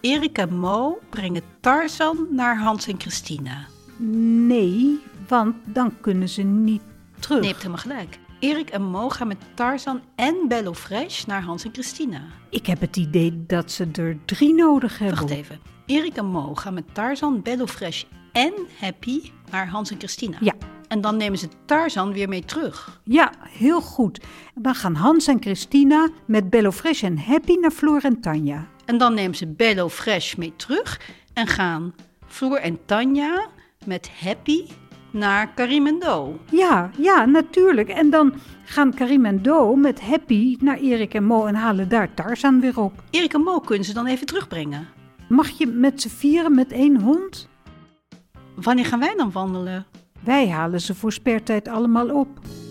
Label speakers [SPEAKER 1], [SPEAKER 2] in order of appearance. [SPEAKER 1] Erik en Mo brengen Tarzan naar Hans en Christina.
[SPEAKER 2] Nee, want dan kunnen ze niet terug.
[SPEAKER 1] Nee, je hebt helemaal gelijk. Erik en Mo gaan met Tarzan en Bello Fresh naar Hans en Christina.
[SPEAKER 2] Ik heb het idee dat ze er drie nodig hebben.
[SPEAKER 1] Wacht even. Erik en Mo gaan met Tarzan, Bello Fresh en Happy naar Hans en Christina.
[SPEAKER 2] Ja.
[SPEAKER 1] En dan nemen ze Tarzan weer mee terug.
[SPEAKER 2] Ja, heel goed. Dan gaan Hans en Christina met Bello Fresh en Happy naar Floor en Tanja.
[SPEAKER 1] En dan nemen ze Bello Fresh mee terug en gaan Floor en Tanja met Happy naar Karim en Do.
[SPEAKER 2] Ja, ja, natuurlijk. En dan gaan Karim en Do met Happy naar Erik en Mo en halen daar Tarzan weer op.
[SPEAKER 1] Erik en Mo kunnen ze dan even terugbrengen.
[SPEAKER 2] Mag je met z'n vieren met één hond?
[SPEAKER 1] Wanneer gaan wij dan wandelen?
[SPEAKER 2] Wij halen ze voor spertijd allemaal op.